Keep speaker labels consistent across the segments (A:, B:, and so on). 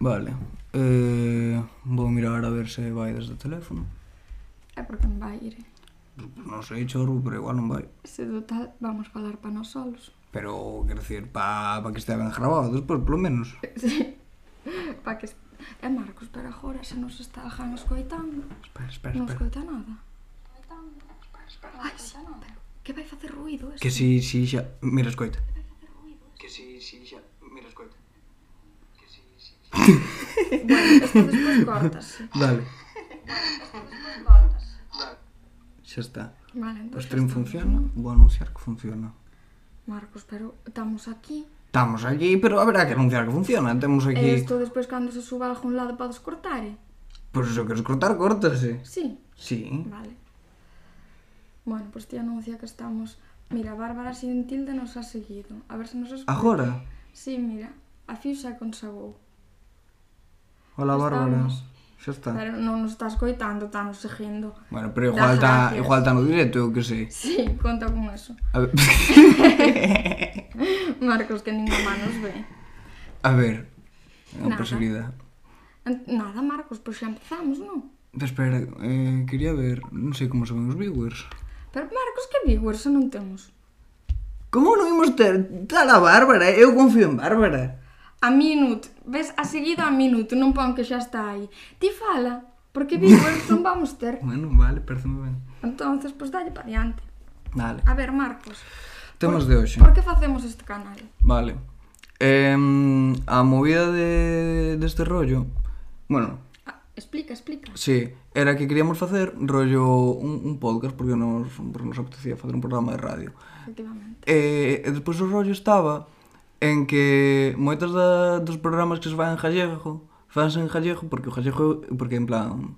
A: Vale. Eh, vou mirar a ver se vai desde o teléfono.
B: É porque non vai ir. eh?
A: Non sei, chorro, pero igual non vai.
B: Se total vamos falar para nós solos.
A: Pero, quero dicir, pa, pa que estea ben grabado despois, polo menos.
B: Sí. Pa que... est- E Marcos, pero agora se nos está a Jan escoitando,
A: Espera, espera,
B: non
A: espera.
B: escoita nada. Ai, sí, pero que vai facer ruido isto?
A: Que si, si, xa... Mira, escoita. Que si, si, xa... Mira, escoita. Que si, si, xa...
B: Bueno, isto despois cortase.
A: Vale. Xa está.
B: Vale, entón
A: O
B: xa
A: stream
B: estamos,
A: funciona?
B: non?
A: Vou anunciar que funciona.
B: Marcos, pero estamos aquí.
A: Estamos allí, pero haberá que anunciar que funciona. Temos
B: E
A: aquí...
B: isto despois cando se suba a algún lado podes cortar, eh?
A: Pois se o queres pues cortar, cortase.
B: Sí.
A: Sí.
B: Vale. Bueno, pois ti anuncia que estamos... Mira, Bárbara sin tilde nos ha seguido. A ver se nos escucha.
A: Agora?
B: Sí, mira. A Fiu xa consagou.
A: Hola,
B: Estamos.
A: Bárbara. Xa está.
B: Pero non nos está escoitando, está nos seguindo.
A: Bueno, pero
B: Das
A: igual está,
B: gracias.
A: igual está no directo, eu que sei.
B: Sí, conta con eso.
A: A ver,
B: Marcos, que nin má nos ve.
A: a ver. É unha
B: Nada.
A: posibilidade.
B: En- Nada, Marcos, pois xa empezamos, non?
A: Pero espera, eh, quería ver, non sei como son os viewers.
B: Pero, Marcos, que viewers se non temos?
A: Como non imos ter tal a Bárbara? Eu confío en Bárbara.
B: A minut, ves, a seguido a minut, non pon que xa está aí. Ti fala, porque viewers non vamos ter.
A: Bueno, vale, pareceme ben.
B: Entonces, pois dalle pa diante.
A: Vale.
B: A ver, Marcos,
A: Temas de hoxe.
B: por que facemos este canal?
A: Vale. Eh, a movida de, deste rollo, bueno,
B: Ah, explica, explica.
A: sí, era que queríamos facer rollo un, un podcast porque nos, porque nos apetecía facer un programa de radio.
B: Efectivamente.
A: E, e despois o rollo estaba en que moitas da, dos programas que se fan en gallego fanse en gallego porque o gallego porque en plan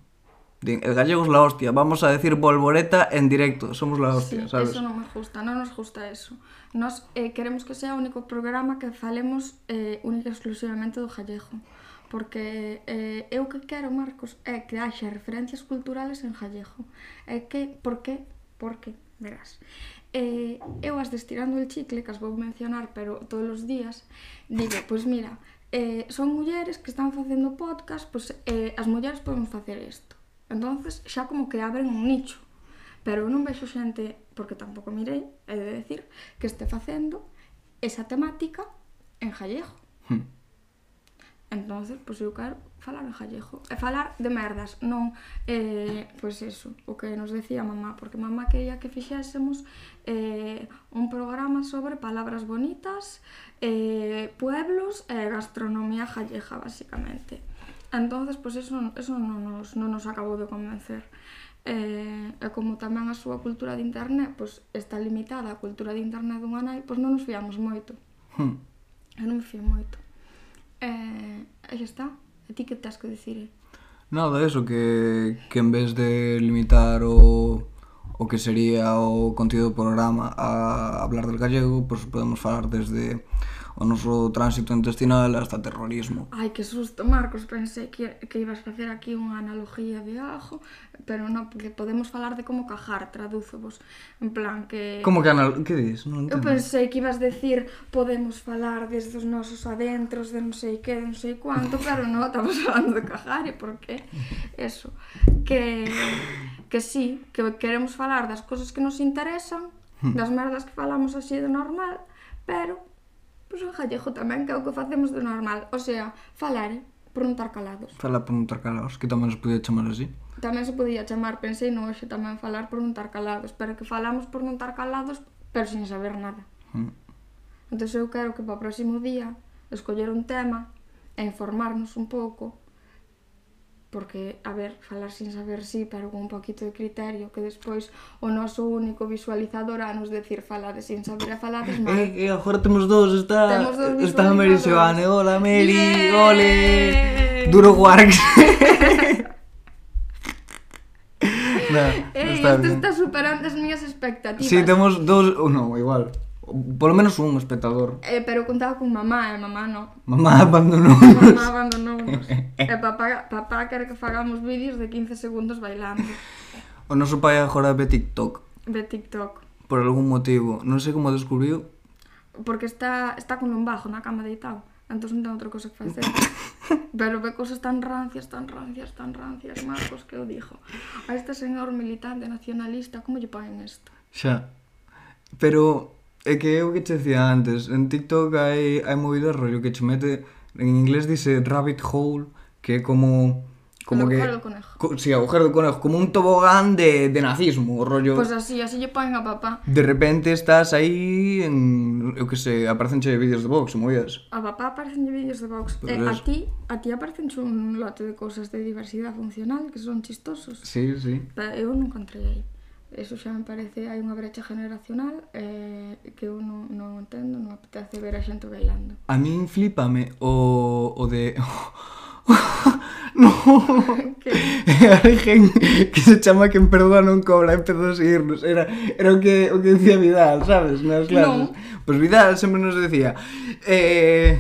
A: din, el gallego es la hostia, vamos a decir bolboreta en directo, somos la hostia,
B: sí,
A: sabes?
B: eso non me gusta, non nos gusta eso. Nós eh, queremos que sea o único programa que falemos eh, única e exclusivamente do gallego. Porque eh, eu que quero, Marcos, é que haxa referencias culturales en gallego. É que, por que? Por que? Verás. Eh, eu as destirando el chicle, que as vou mencionar, pero todos os días, digo, pois mira, eh, son mulleres que están facendo podcast, pois eh, as mulleres podemos facer isto. Entonces xa como que abren un nicho. Pero eu non vexo xente, porque tampouco mirei, é de decir, que este facendo esa temática en gallego.
A: Hm.
B: Entonces, pois eu quero falar en gallego. E falar de merdas, non, eh, pois eso, o que nos decía mamá, porque mamá quería que fixésemos eh, un programa sobre palabras bonitas, eh, pueblos e eh, gastronomía gallega, basicamente. Entonces, pois eso, eso non, nos, non nos acabou de convencer. Eh, e como tamén a súa cultura de internet pois, está limitada á cultura de internet dunha nai, pois non nos fiamos moito.
A: Hm.
B: Eu non me fío moito. Eh, e xa está. A ti que tens que dicir? eh?
A: Nada, eso que, que en vez de limitar o, o que sería o contido do programa a hablar del gallego, pues podemos falar desde o noso tránsito intestinal hasta terrorismo.
B: Ai, que susto, Marcos, pensei que, que ibas facer aquí unha analogía de ajo, pero non, porque podemos falar de como cajar, traduzo vos. En plan que...
A: Como que anal... Que dis? Non
B: Eh, Eu
A: entendo.
B: pensei que ibas decir podemos falar desde os nosos adentros de non sei que, de non sei cuánto, pero non, estamos falando de cajar e por qué eso, que que sí, que queremos falar das cousas que nos interesan, das merdas que falamos así de normal, pero pois pues, o gallego tamén que é o que facemos de normal, o sea, falar, eh, por non estar calados.
A: Fala por un tarcalaos, que tamén se podía chamar así.
B: Tamén se podía chamar, pensei no hoxe tamén falar por non estar calados, pero que falamos por non estar calados, pero sin saber nada.
A: Hm.
B: Entón eu quero que para o próximo día escoller un tema e informarnos un pouco porque, a ver, falar sin saber sí, pero con un poquito de criterio que despois o noso único visualizador a nos decir falade sin saber e falades mal.
A: Eh, eh, agora temos dos, está,
B: Temos dos
A: está Meri
B: visualizadores.
A: Seoane, hola Meri,
B: Bien.
A: ole, duro Wargs. nah,
B: Ei,
A: está
B: isto
A: bien.
B: Eh, está superando as mías expectativas.
A: Sí, temos dos, ou non, igual. Por lo menos un espectador.
B: eh, pero contaba con mamá, e mamá non.
A: Mamá abandonou.
B: Mamá abandonounos. e papá, papá quer que fagamos vídeos de 15 segundos bailando
A: O noso pai agora ve TikTok
B: de TikTok.
A: por algún motivo. Non sei como descubriu.
B: Porque está, está con lumbago na cama deitado Entón non ten outra cosa que facer Pero ve cosas tan rancias, tan rancias, tan rancias, Marcos, que eu dixo. A este señor militante nacionalista, como lle paguen isto?
A: Xa. Pero é que é o que che decía antes, en TikTok hai hai movidas rollo que che mete en inglés dice rabbit hole, que é como como que
B: El agujero del conejo.
A: co- sí, agujero del conejo, como un tobogán de, de nazismo, o rollo.
B: Pois así, así lle paguen a papá.
A: De repente estás aí en eu que sei, aparecen che vídeos de box, movidas.
B: A papá aparecen vídeos de box.
A: Pero
B: Eh, a
A: es-
B: ti, a ti aparecen un lote de cosas de diversidade funcional que son chistosos.
A: Sí, sí.
B: Pero eu non contrei aí. Eso xa me parece, hai unha brecha generacional eh, que eu non, non entendo, non apetece ver a xente bailando.
A: A min flipame o o de No.
B: que,
A: E hai gen que se chama quen perdoa non cobra empezou a seguirnos era, era o, que, o que dicía Vidal, sabes, nas clases
B: Non.
A: Pois Pues Vidal sempre nos decía eh,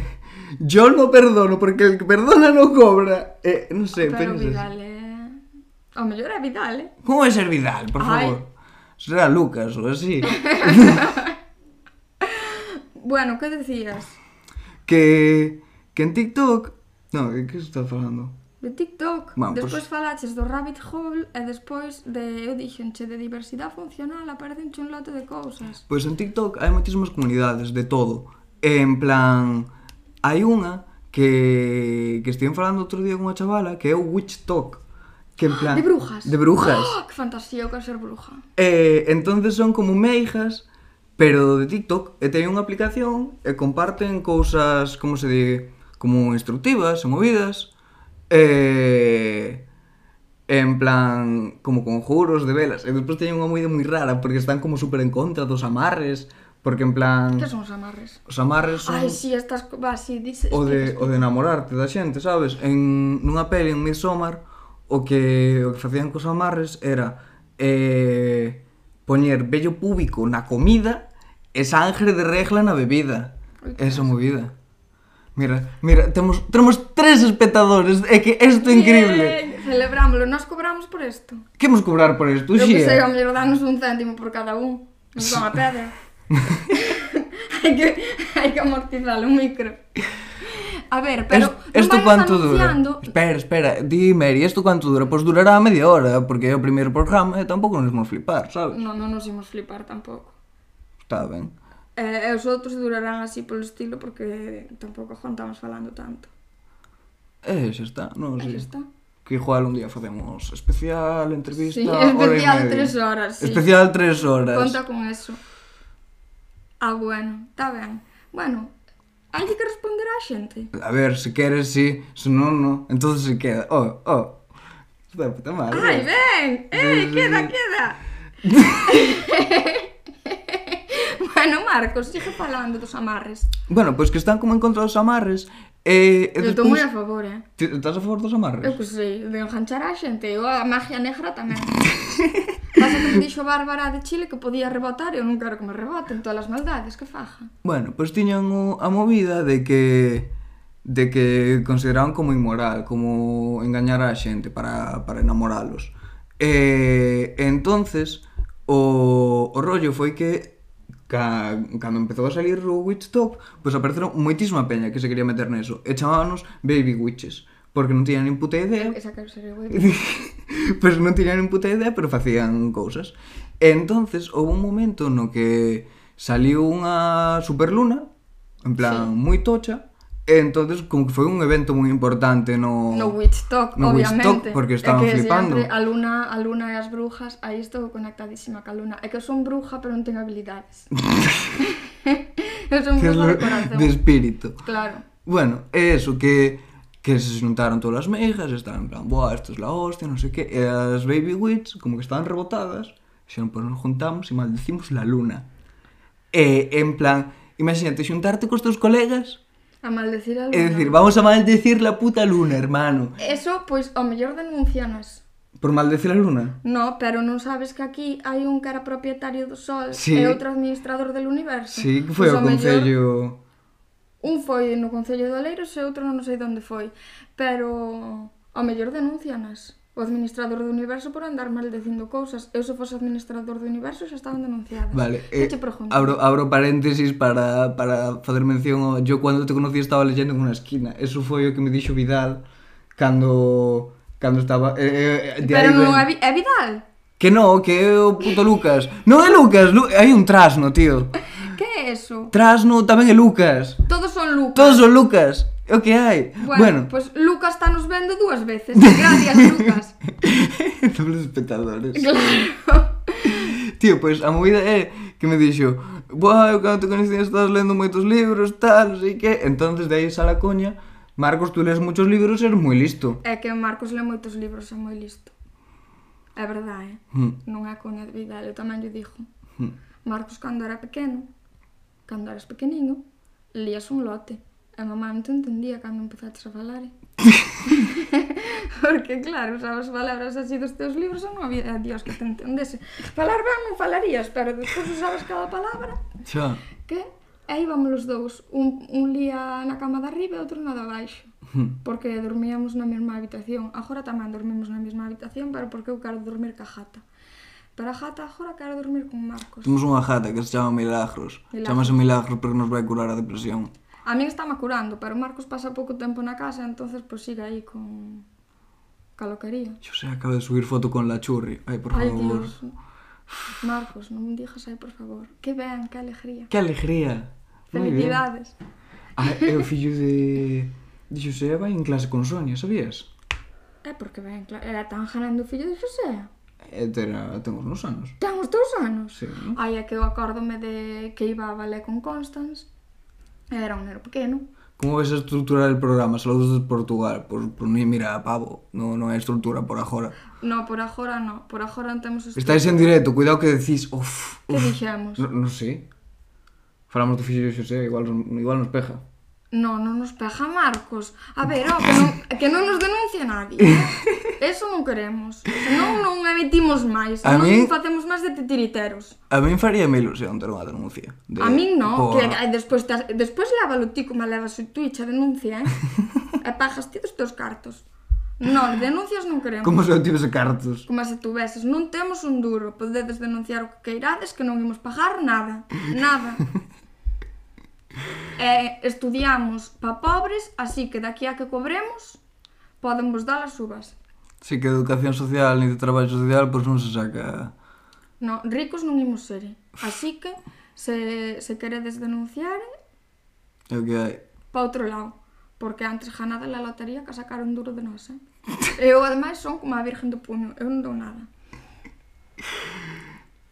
A: Yo no perdono porque el que perdona no cobra eh, Non sei,
B: pero
A: pensas
B: Vidal eh. é... O mellor é Vidal, eh?
A: Como vai ser Vidal, por
B: Ai.
A: favor? Será Lucas ou así
B: Bueno, que decías?
A: Que, que en TikTok Non, que, que se está falando?
B: De TikTok,
A: Man,
B: despois
A: pois-
B: falaches do rabbit hole e despois de, eu dixenche, de diversidade funcional aparecenche un lote de cousas.
A: Pois en TikTok hai moitísimas comunidades de todo. E, En plan, hai unha que que estiven falando outro día cunha chavala que é o Witch Talk, que en plan
B: Ah, De brujas.
A: De brujas.
B: Oh, que fantasía, eu quero ser bruja.
A: Eh, entonces son como meijas, pero de TikTok, e teñen unha aplicación e comparten cousas, como se di, como instructivas e movidas, eh, en plan, como conjuros de velas. E despois teñen unha movida moi rara, porque están como super en contra dos amarres, porque en plan,
B: Que son os amarres?
A: os amarres Mm. son
B: Ai, si, estas... co- Va, si, dices...
A: o de, o de enamorarte da xente, sabes? En nunha peli en Midsommar o que o que facían cos amarres era eh, poñer vello púbico na comida e sangre de regla na bebida. Esa movida. Mira, mira, temos temos tres espectadores, é que isto é increíble.
B: Bien, Celebrámoslo, nos cobramos por isto.
A: Que imos cobrar por isto,
B: Eu que sei, ao
A: xía?
B: mellor danos un céntimo por cada un. Nos van a pedra. hai que hai que amortizar o micro. A ver, pero
A: Est-
B: non vayas
A: cuánto
B: anunciando.
A: dura? Espera, espera, di Mary, isto cuánto dura? Pois durará media hora, porque é o primeiro programa e tampouco nos vamos flipar, sabes?
B: Non, non nos imos flipar tampouco.
A: Está ben.
B: Eh, e os outros durarán así polo estilo porque tampouco aguantamos falando tanto.
A: E xa está, non sei.
B: Aí está.
A: Que igual un día facemos especial, entrevista,
B: Sí,
A: hora e
B: especial
A: media.
B: tres horas, sí.
A: Especial tres horas.
B: Conta con eso. Ah, bueno, está ben. Bueno, hai que responder á xente.
A: A ver, se queres, sí, se non, non. Entón se queda. Oh, oh. Está de puta madre.
B: Ai, ben!
A: Sí, sí,
B: Ei, queda,
A: sí.
B: queda! bueno, Marcos, sigue falando dos amarres.
A: Bueno, pois que están como en contra dos amarres. E, e
B: Eu estou moi a favor, eh?
A: Ti- Estás a favor dos
B: Eu
A: amarres?
B: que sei, de enganchar a xente, eu a magia negra tamén. Pasa que me dixo Bárbara de Chile que podía rebotar e eu non quero que me reboten todas as maldades que faja.
A: Bueno, pois tiñan o, a movida de que de que consideraban como inmoral, como engañar a xente para, para enamoralos. E entonces o, o rollo foi que ca, cando empezou a salir o Witch Top, pois apareceron moitísima peña que se quería meter neso e chamábanos Baby Witches, porque non tiñan nin puta idea
B: Esa quero ser eu. eh?
A: pois non tiñan nin puta idea, pero facían cousas. E entonces houve un momento no que saliu unha superluna, en plan sí. moi tocha, e entonces como que foi un evento moi importante no
B: No Witch Talk,
A: no Witch
B: obviamente.
A: Talk, porque estaban
B: é que
A: flipando.
B: Sempre a luna, a luna e as brujas, aí estou conectadísima ca luna. É que eu son bruja, pero non teño habilidades. eu son
A: que é
B: bruja
A: lo-
B: de corazón.
A: de espírito.
B: Claro.
A: Bueno, é eso que que se xuntaron todas as meigas, estaban en plan, boa, isto é la hostia, non sei que, e as baby witch como que estaban rebotadas, xeron, pois nos juntamos e maldecimos la luna. E en plan, imagínate xuntarte cos teus colegas
B: A maldecir a luna.
A: e decir, vamos a maldecir la puta luna, hermano.
B: Eso, pois, ao mellor denuncianos.
A: Por maldecir a luna.
B: No, pero non sabes que aquí hai un cara propietario do sol
A: Sí.
B: e outro administrador del universo.
A: Sí, que foi
B: Pois,
A: ao
B: mellor,
A: concello...
B: Un foi no Concello de Oleiros e outro non sei onde foi. Pero ao mellor denuncianas. o administrador do universo por andar maldecindo cousas. Eu se fose administrador do universo xa estaban denunciada.
A: Vale,
B: Que
A: eh,
B: che pregunto?
A: abro, abro paréntesis para, para facer mención ao... Yo cando te conocí estaba leyendo en unha esquina Eso foi o que me dixo Vidal Cando, cando estaba eh, eh, de
B: Pero
A: aí
B: non
A: ven-
B: é, Vi- é Vidal.
A: Que no, que é o puto Lucas Non é Lucas, Lu... hai un trasno, tío
B: Que é eso?
A: Trasno tamén é Lucas
B: Todos son Lucas.
A: Todos son Lucas É o que hai
B: Bueno,
A: Bueno,
B: pois pues Lucas está nos vendo dúas veces. Gracias, Lucas.
A: Dobles espectadores
B: Claro.
A: Tío, pois a movida é que me dixo Buah, eu cando te conhecín estás lendo moitos libros, tal, non sei que Entonces de aí sale a coña Marcos, tú lees moitos libros e eres moi listo
B: É que Marcos le moitos libros, é moi listo. É verdade, eh?
A: Hmm.
B: Non é coña de Vidal, eu tamén lle dixo.
A: Hmm.
B: Marcos, cando era pequeno, cando eras pequeniño, lías un lote. E mamá non te entendía cando empezaches a falar. eh. Porque, claro, usabas palabras así dos teus libros e non había dios que te entendese. Falar ben non falarías, pero despois usabas cada palabra
A: Xa
B: que e íbamos os dous, un, un lía na cama de arriba e outro na de abaixo.
A: Hmm.
B: Porque dormíamos na mesma habitación. Agora tamén dormimos na mesma habitación, pero porque eu quero dormir ca Jata. Pero a Jata agora quero dormir con Marcos.
A: Temos unha jata que se chama Milagros
B: Milagros.
A: Chamase Milagros porque nos vai curar a depresión
B: A mí está curando, pero Marcos pasa pouco tempo na casa, entonces pois sigue aí con ca loquería.
A: Yo se acaba de subir foto con la churri Ai, por
B: Ai,
A: favor
B: Dios. Marcos, non me digas aí, por favor. Que ben, que alegría.
A: Que alegría Moi bien.
B: Felicidades.
A: Ah, é o fillo de... De Xosé vai en clase con Sonia, sabías?
B: É porque ben, claro, era tan janando o fillo de Xosé.
A: Eh, terá, ten uns anos
B: Ten os dous anos?
A: Sí, non?
B: Ai, é que eu acórdome de que iba a balé con Constance. Era un nero pequeno.
A: Como ves a estruturar el programa? Saludos de Portugal. Por, por mí, mira, pavo. No, non hai estrutura por agora.
B: No, por agora no. Por agora non temos... estu-
A: Estáis en directo, cuidado que decís... Uf,
B: Que
A: uf.
B: dixemos?
A: No, non sei. Falamos do fixo de Xosé, igual, non- igual nos peja.
B: No, non nos pega Marcos. A ver, oh, que, non, que non nos denuncie nadie. eh? Eso non queremos. Senón non emitimos máis.
A: A
B: non
A: min-
B: facemos máis de titiriteros.
A: A min faría me ilusión ter unha denuncia. De,
B: A min no,
A: por-
B: que eh, despois te, despois lávalo ti como levas o Twitch a denuncia, eh? e pagas ti dos teus cartos. No, denuncias non queremos.
A: Como se eu tivese cartos.
B: Como se tuveses, non temos un duro, podedes denunciar o que queirades que non imos pagar nada, nada. e estudiamos pa pobres, así que daqui a que cobremos, poden vos dar as uvas.
A: Si que educación social ni de traballo social, pois non se saca...
B: No, ricos non imos ser, eh. así que se, se queredes denunciar, eh,
A: É o que hai.
B: pa outro lado. Porque antes ganada la lotería que sacaron duro de nós, eh? Eu, ademais, son como a virgen do puño, eu non dou nada.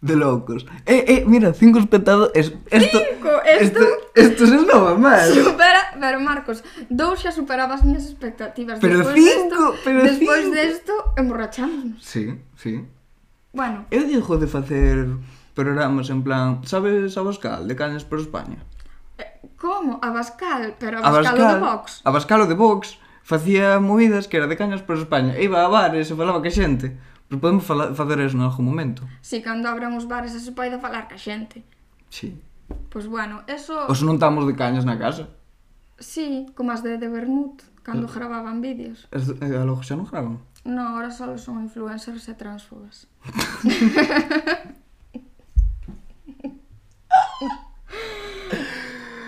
A: De locos. Eh, eh, mira, cinco espectadores. Esto,
B: Cinco, esto-
A: Esto, esto se nova mal.
B: Supera, pero Marcos, dous xa superaba as miñas expectativas.
A: Pero
B: despois
A: cinco,
B: desto,
A: pero
B: Despois
A: cinco.
B: desto, emborrachámonos.
A: Sí, sí.
B: Bueno,
A: Eu dixo de facer programas en plan, sabes Abascal, de Cañas por España?
B: eh, como? Abascal, pero Abascal, Abascal. de Vox.
A: Abascal o de Vox facía movidas que era de Cañas por España. E iba a bares e falaba que xente. Pero podemos fala, facer eso en algún momento.
B: Si cando abran os bares e se poida falar ca xente.
A: Sí.
B: Pois bueno, eso,
A: Os non estamos de cañas na casa.
B: sí, como as de, de Bermud,
A: Eh.
B: cando grababan vídeos.
A: As- eh, A logo xa non graban.
B: No, ahora solo son influencers e transfobas.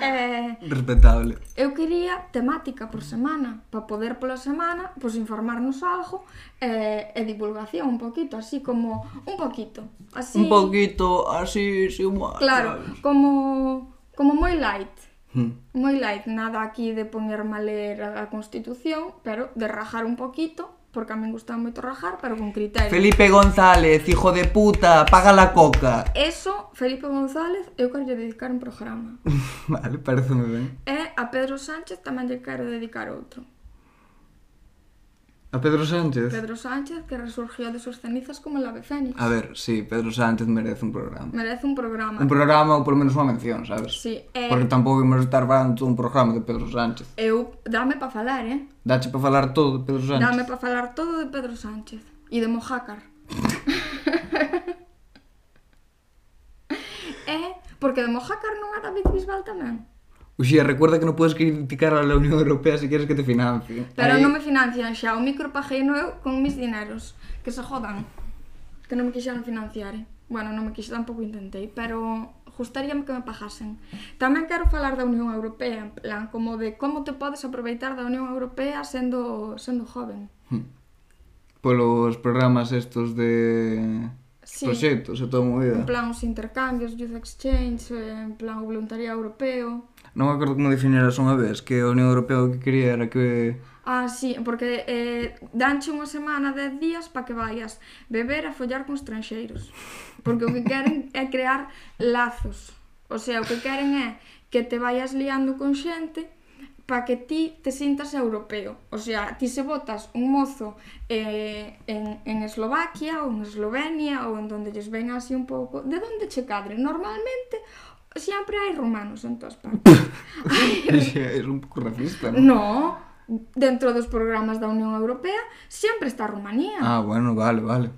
B: eh,
A: Respetable.
B: Eu quería temática por semana, para poder pola semana, pois informarnos algo eh, e divulgación un poquito, así como un poquito, así.
A: Un poquito así, si un
B: Claro, como como moi light.
A: Hmm.
B: Moi light, nada aquí de poñerme a ler a Constitución, pero de rajar un poquito, porque a min gusta moito rajar, pero con criterio.
A: Felipe González, hijo de puta, paga la coca.
B: Eso, Felipe González, eu quero dedicar un programa.
A: Vale, parece moi ben.
B: E a Pedro Sánchez tamén lle quero dedicar outro.
A: A Pedro Sánchez.
B: Pedro Sánchez que resurgió de sus cenizas como el ave fénix.
A: A ver, sí, Pedro Sánchez merece un programa.
B: Merece un programa.
A: Un programa ou polo menos unha mención, sabes?
B: Sí, eh,
A: Porque tampouco imos estar falando todo un programa de Pedro Sánchez.
B: eu dame para falar, eh?
A: Dache para falar todo de Pedro Sánchez.
B: Dame para falar todo de Pedro Sánchez e de Mojácar. eh, porque de Mojácar non era David Bisbal tamén.
A: Uxía, recuerda que non podes criticar a Unión Europea se queres que te financie.
B: Pero
A: Aí-
B: non me financian xa, o micro pagueino eu con mis dineros, que se jodan. Que non me quixeran financiar. eh. Bueno, non me quixe, tampouco intentei, pero gustaríame que me pagasen. Tamén quero falar da Unión Europea, en plan, como de como te podes aproveitar da Unión Europea sendo sendo joven.
A: Polos programas estos de...
B: Sí.
A: Proxectos e toda a movida.
B: En plan, os intercambios, Youth Exchange, eh, en plan, o voluntariado europeo.
A: Non me acordo como definiras unha vez que a Unión Europea o que quería era que...
B: Ah, sí, porque eh, danche unha semana, dez días para que vayas beber e follar con estranxeiros. Porque o que queren é crear lazos. O sea, o que queren é que te vayas liando con xente para que ti te sintas europeo. O sea, ti se botas un mozo eh, en, en Eslovaquia ou en Eslovenia ou en donde lles ven así un pouco, de onde che cadre. Normalmente, sempre hai romanos en todas partes.
A: é un pouco racista, non?
B: No, dentro dos programas da Unión Europea sempre está Rumanía.
A: Ah, bueno, vale, vale.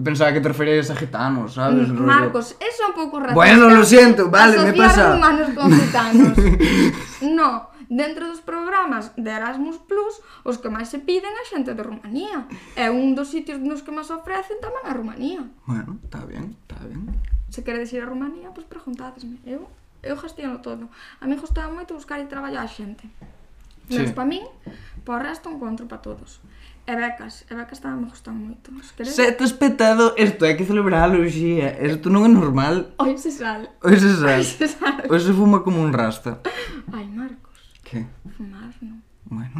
A: Eu pensaba que te referías a gitanos, sabes?
B: Mm,
A: Ah, Rollo-
B: Marcos, eso é un pouco racista.
A: Bueno, lo siento, vale, me
B: Asociar
A: pasa.
B: rumanos con gitanos. no, dentro dos programas de Erasmus Plus, os que máis se piden a xente de Rumanía. É un dos sitios nos que máis ofrecen tamén a Rumanía.
A: Bueno, está bien, está bien.
B: Se queredes ir a Rumanía, pois preguntadesme. Eu, eu gestiono todo. A mí gustaba moito buscar e traballar a xente.
A: Sí.
B: Menos pa min, pa o resto encontro pa todos. E becas, e becas tamén me gustan moito. Se queredes...
A: Sete espetado, isto hai que celebralo, xía. Isto non é normal.
B: Hoy se sal.
A: Hoxe se sal.
B: Hoy se sal.
A: Hoxe se fuma como un rasta.
B: Ay, Marcos,
A: Que?
B: fumar no.
A: Bueno.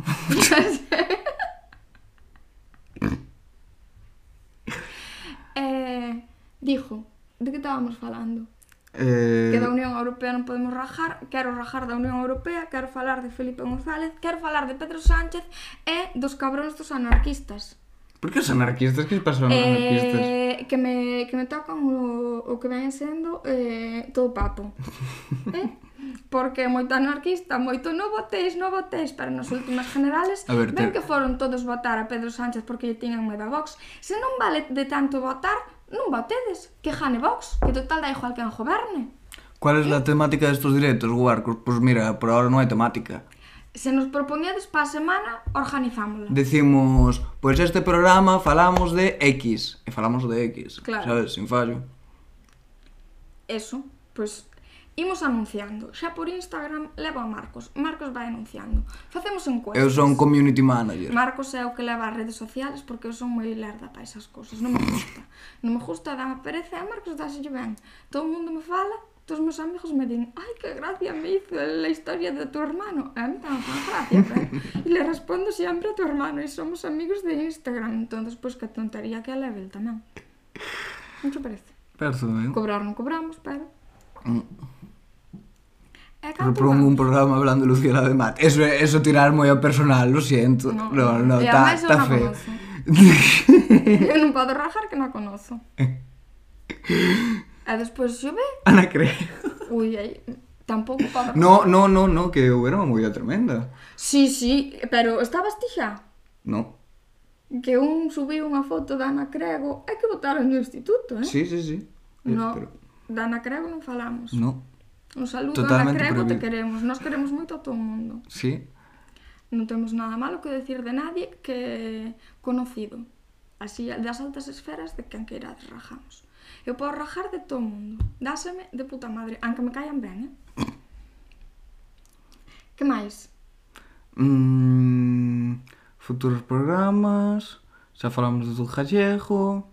B: eh, dijo, de que estábamos falando?
A: Eh,
B: Que da Unión Europea non podemos rajar, quero rajar da Unión Europea, quero falar de Felipe González, quero falar de Pedro Sánchez e dos cabróns dos anarquistas.
A: Por que os anarquistas? Que pasaron os anarquistas?
B: Eh, que me que me tocan o, o que ven sendo eh, todo papo. eh? Porque moito anarquista, moito no votéis, no votéis, pero nas últimas generales
A: A ver,
B: ven
A: te-
B: que foron todos votar a Pedro Sánchez porque lle tiñan medo a Vox. Se non vale de tanto votar, non votedes, que jane Vox, que total da igual que en goberne.
A: Cual é a temática destos directos, Guarcos? Pois mira, por ahora non hai temática.
B: Se nos propoñedes pa semana, organizámola.
A: Decimos, pois este programa falamos de X. E falamos de X,
B: Claro.
A: sabes? Sin fallo.
B: Eso, pois imos anunciando. Xa por Instagram leva a Marcos. Marcos vai anunciando. Facemos encuestas.
A: Eu son community manager.
B: Marcos é o que leva as redes sociales porque eu son moi lerda para esas cousas, non me gusta. Non me gusta, dame pereza e a Marcos dáselle ben. Todo o mundo me fala, todos os meus amigos me din ai, que gracia me hizo la historia de tu hermano. E a mí tamén fan gracia, ben. E le respondo sempre a tu hermano e somos amigos de Instagram. Entón, pois, que tontería que a level tamén. Mucho pereza.
A: Perzo, eh? Mm.
B: Cobrar non cobramos, pero... E canto
A: Propongo
B: vamos?
A: un programa hablando de Luciana de Mate. Eso, eso tirar moi ao personal, lo siento.
B: No,
A: No, no,
B: no. E
A: está
B: ademais eu
A: ta
B: non a
A: feo.
B: conozo. Eu non podo rajar que non a conozo. E despois xove,
A: Ana creo.
B: ui, aí, tampouco podo...
A: No, no, no, no, que hubiera unha movida tremenda.
B: Sí, sí, pero estabas ti xa?
A: No.
B: Que un subiu unha foto da Ana Crego, é que votaron no instituto, eh?
A: Sí, sí, sí. Eh,
B: no,
A: pero-
B: da Ana Crego non falamos.
A: no.
B: Un saludo a Ana
A: Totalmente
B: Crego, te
A: prohibido.
B: queremos. Nos queremos moito a todo o mundo.
A: Sí.
B: Non temos nada malo que decir de nadie que conocido. Así, das altas esferas de quen queira rajamos. Eu podo rajar de todo o mundo. Dáseme de puta madre, anque me caian ben, eh? Que máis?
A: Mm, futuros programas. Xa falamos do Gallego.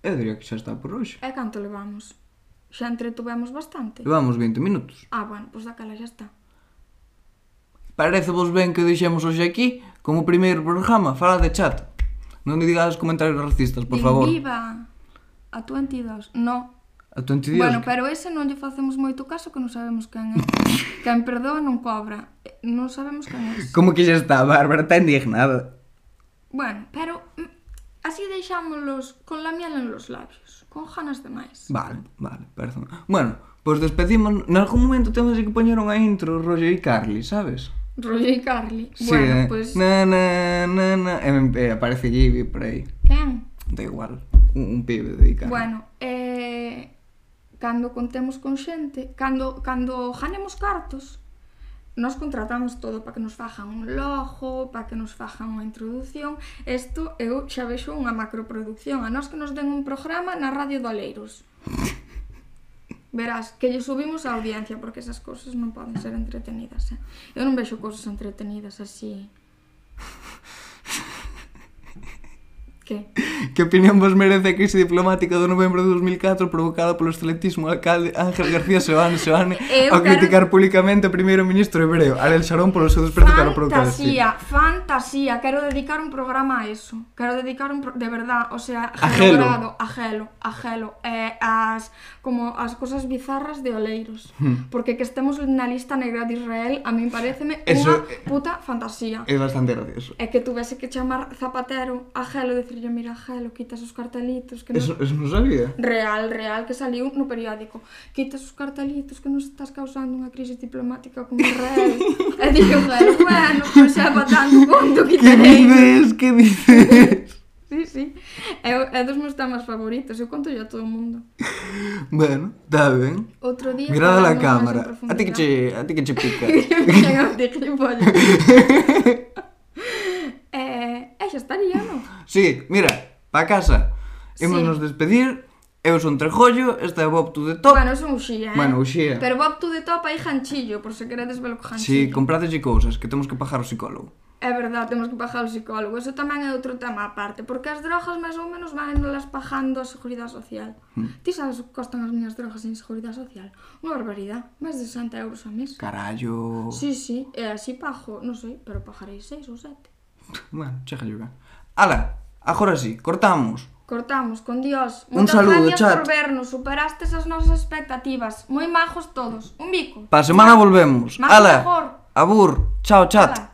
A: Eu diría que xa está por hoxe.
B: E canto levamos? Xa entretuvemos bastante?
A: Levamos 20 minutos.
B: Ah, bueno, pois daquela xa está.
A: Parece vos ben que o deixemos hoxe aquí como primeiro programa, fala de chat. Non me digades comentarios racistas, por
B: Din
A: favor.
B: Viva! A 22. No.
A: A tu entidade.
B: Bueno, pero ese non lle facemos moito caso que non sabemos quen é. quen perdoa non cobra. Eh, Non sabemos quen é.
A: Como que xa está, Bárbara, está indignada.
B: Bueno, pero mm, así deixámoslos con la miel en los labios, con ganas de máis.
A: Vale, vale, perdón. Bueno, pois despedimos. Nalgún momento temos que poñer unha intro, rollo e Carly, sabes?
B: Rollo y Carly.
A: Sí,
B: bueno, pois-
A: eh,
B: pues...
A: Na, na, na, na. E, me- e aparece Gibi por aí.
B: Quen?
A: Da igual. Un, un pibe de Icarly.
B: Bueno, eh... cando contemos con xente, cando, cando ganemos cartos, nos contratamos todo para que nos fajan un logo, para que nos fajan unha introdución. Isto eu xa vexo unha macroproducción, a nós que nos den un programa na Radio do Aleiros. Verás, que lle subimos a audiencia, porque esas cousas non poden ser entretenidas, eh? Eu non vexo cousas entretenidas así. Que?
A: Que opinión vos merece a crise diplomática do novembro de 2004 provocada polo excelentísimo alcalde Ángel García Seoane Seoane
B: Eu
A: ao
B: quero-
A: criticar publicamente o primeiro ministro hebreo, Ariel Sharon, polo seu desprezo cara ao produto palestino?
B: Fantasía, fantasía. Quero dedicar un programa a eso. Quero dedicar un pro... de verdad, o sea,
A: A gelo.
B: logrado a gelo, a gelo, eh, as como as cosas bizarras de Oleiros,
A: Hmm.
B: porque que estemos na lista negra de Israel a min pareceme
A: Eso,
B: unha
A: eh,
B: puta fantasía.
A: É bastante gracioso.
B: É que tuvese que chamar Zapatero a Gelo e dicirlle, mira, Gelo, quitas os cartelitos que non
A: Eso, eso non sabía.
B: Real, real, que saliu no periódico. Quita os cartelitos que nos estás causando unha crise diplomática con Israel. e dixo, "Joder, bueno, pois xa pa tanto punto
A: Que
B: quitarei.
A: dices? Que dices?
B: Sí, sí. É, o- é dos meus temas favoritos, eu conto a todo o mundo.
A: bueno, está ben.
B: Outro día...
A: Mirada a
B: falamos máis en
A: cámara. A ti que
B: profundidade.
A: che, a ti que che pica.
B: Chega, te gilipollas. eh, e xa estaría, non?
A: Sí, mira, pa casa.
B: Sí.
A: Imos nos despedir. Eu son Trejollo, esta é Bob to the Top.
B: Bueno, son uxía, eh?
A: Bueno, Uxía.
B: Pero Bob to the top aí janchillo, por se queredes velo co
A: Si,
B: janchillo.
A: sí, comprádelle cousas, que temos que pagar o psicólogo.
B: É verdade, temos que pagar o psicólogo. Eso tamén é outro tema aparte, porque as drogas máis ou menos van las pagando a Seguridade Social.
A: Hmm.
B: Ti sabes o que costan as miñas drogas en Seguridade Social? Unha barbaridade, máis de 60 euros ao mes.
A: Carallo.
B: Sí, sí, e así pago, non sei, pero pagarei 6 ou 7.
A: Bueno, cheja ben. Ala, agora sí, cortamos.
B: Cortamos, con Dios.
A: Un saludo,
B: gracias
A: chat.
B: por vernos, superastes as nosas expectativas. Moi majos todos. Un bico.
A: Pa semana volvemos.
B: Más
A: Ala.
B: mejor.
A: Abur. Chao, chat.
B: Ala.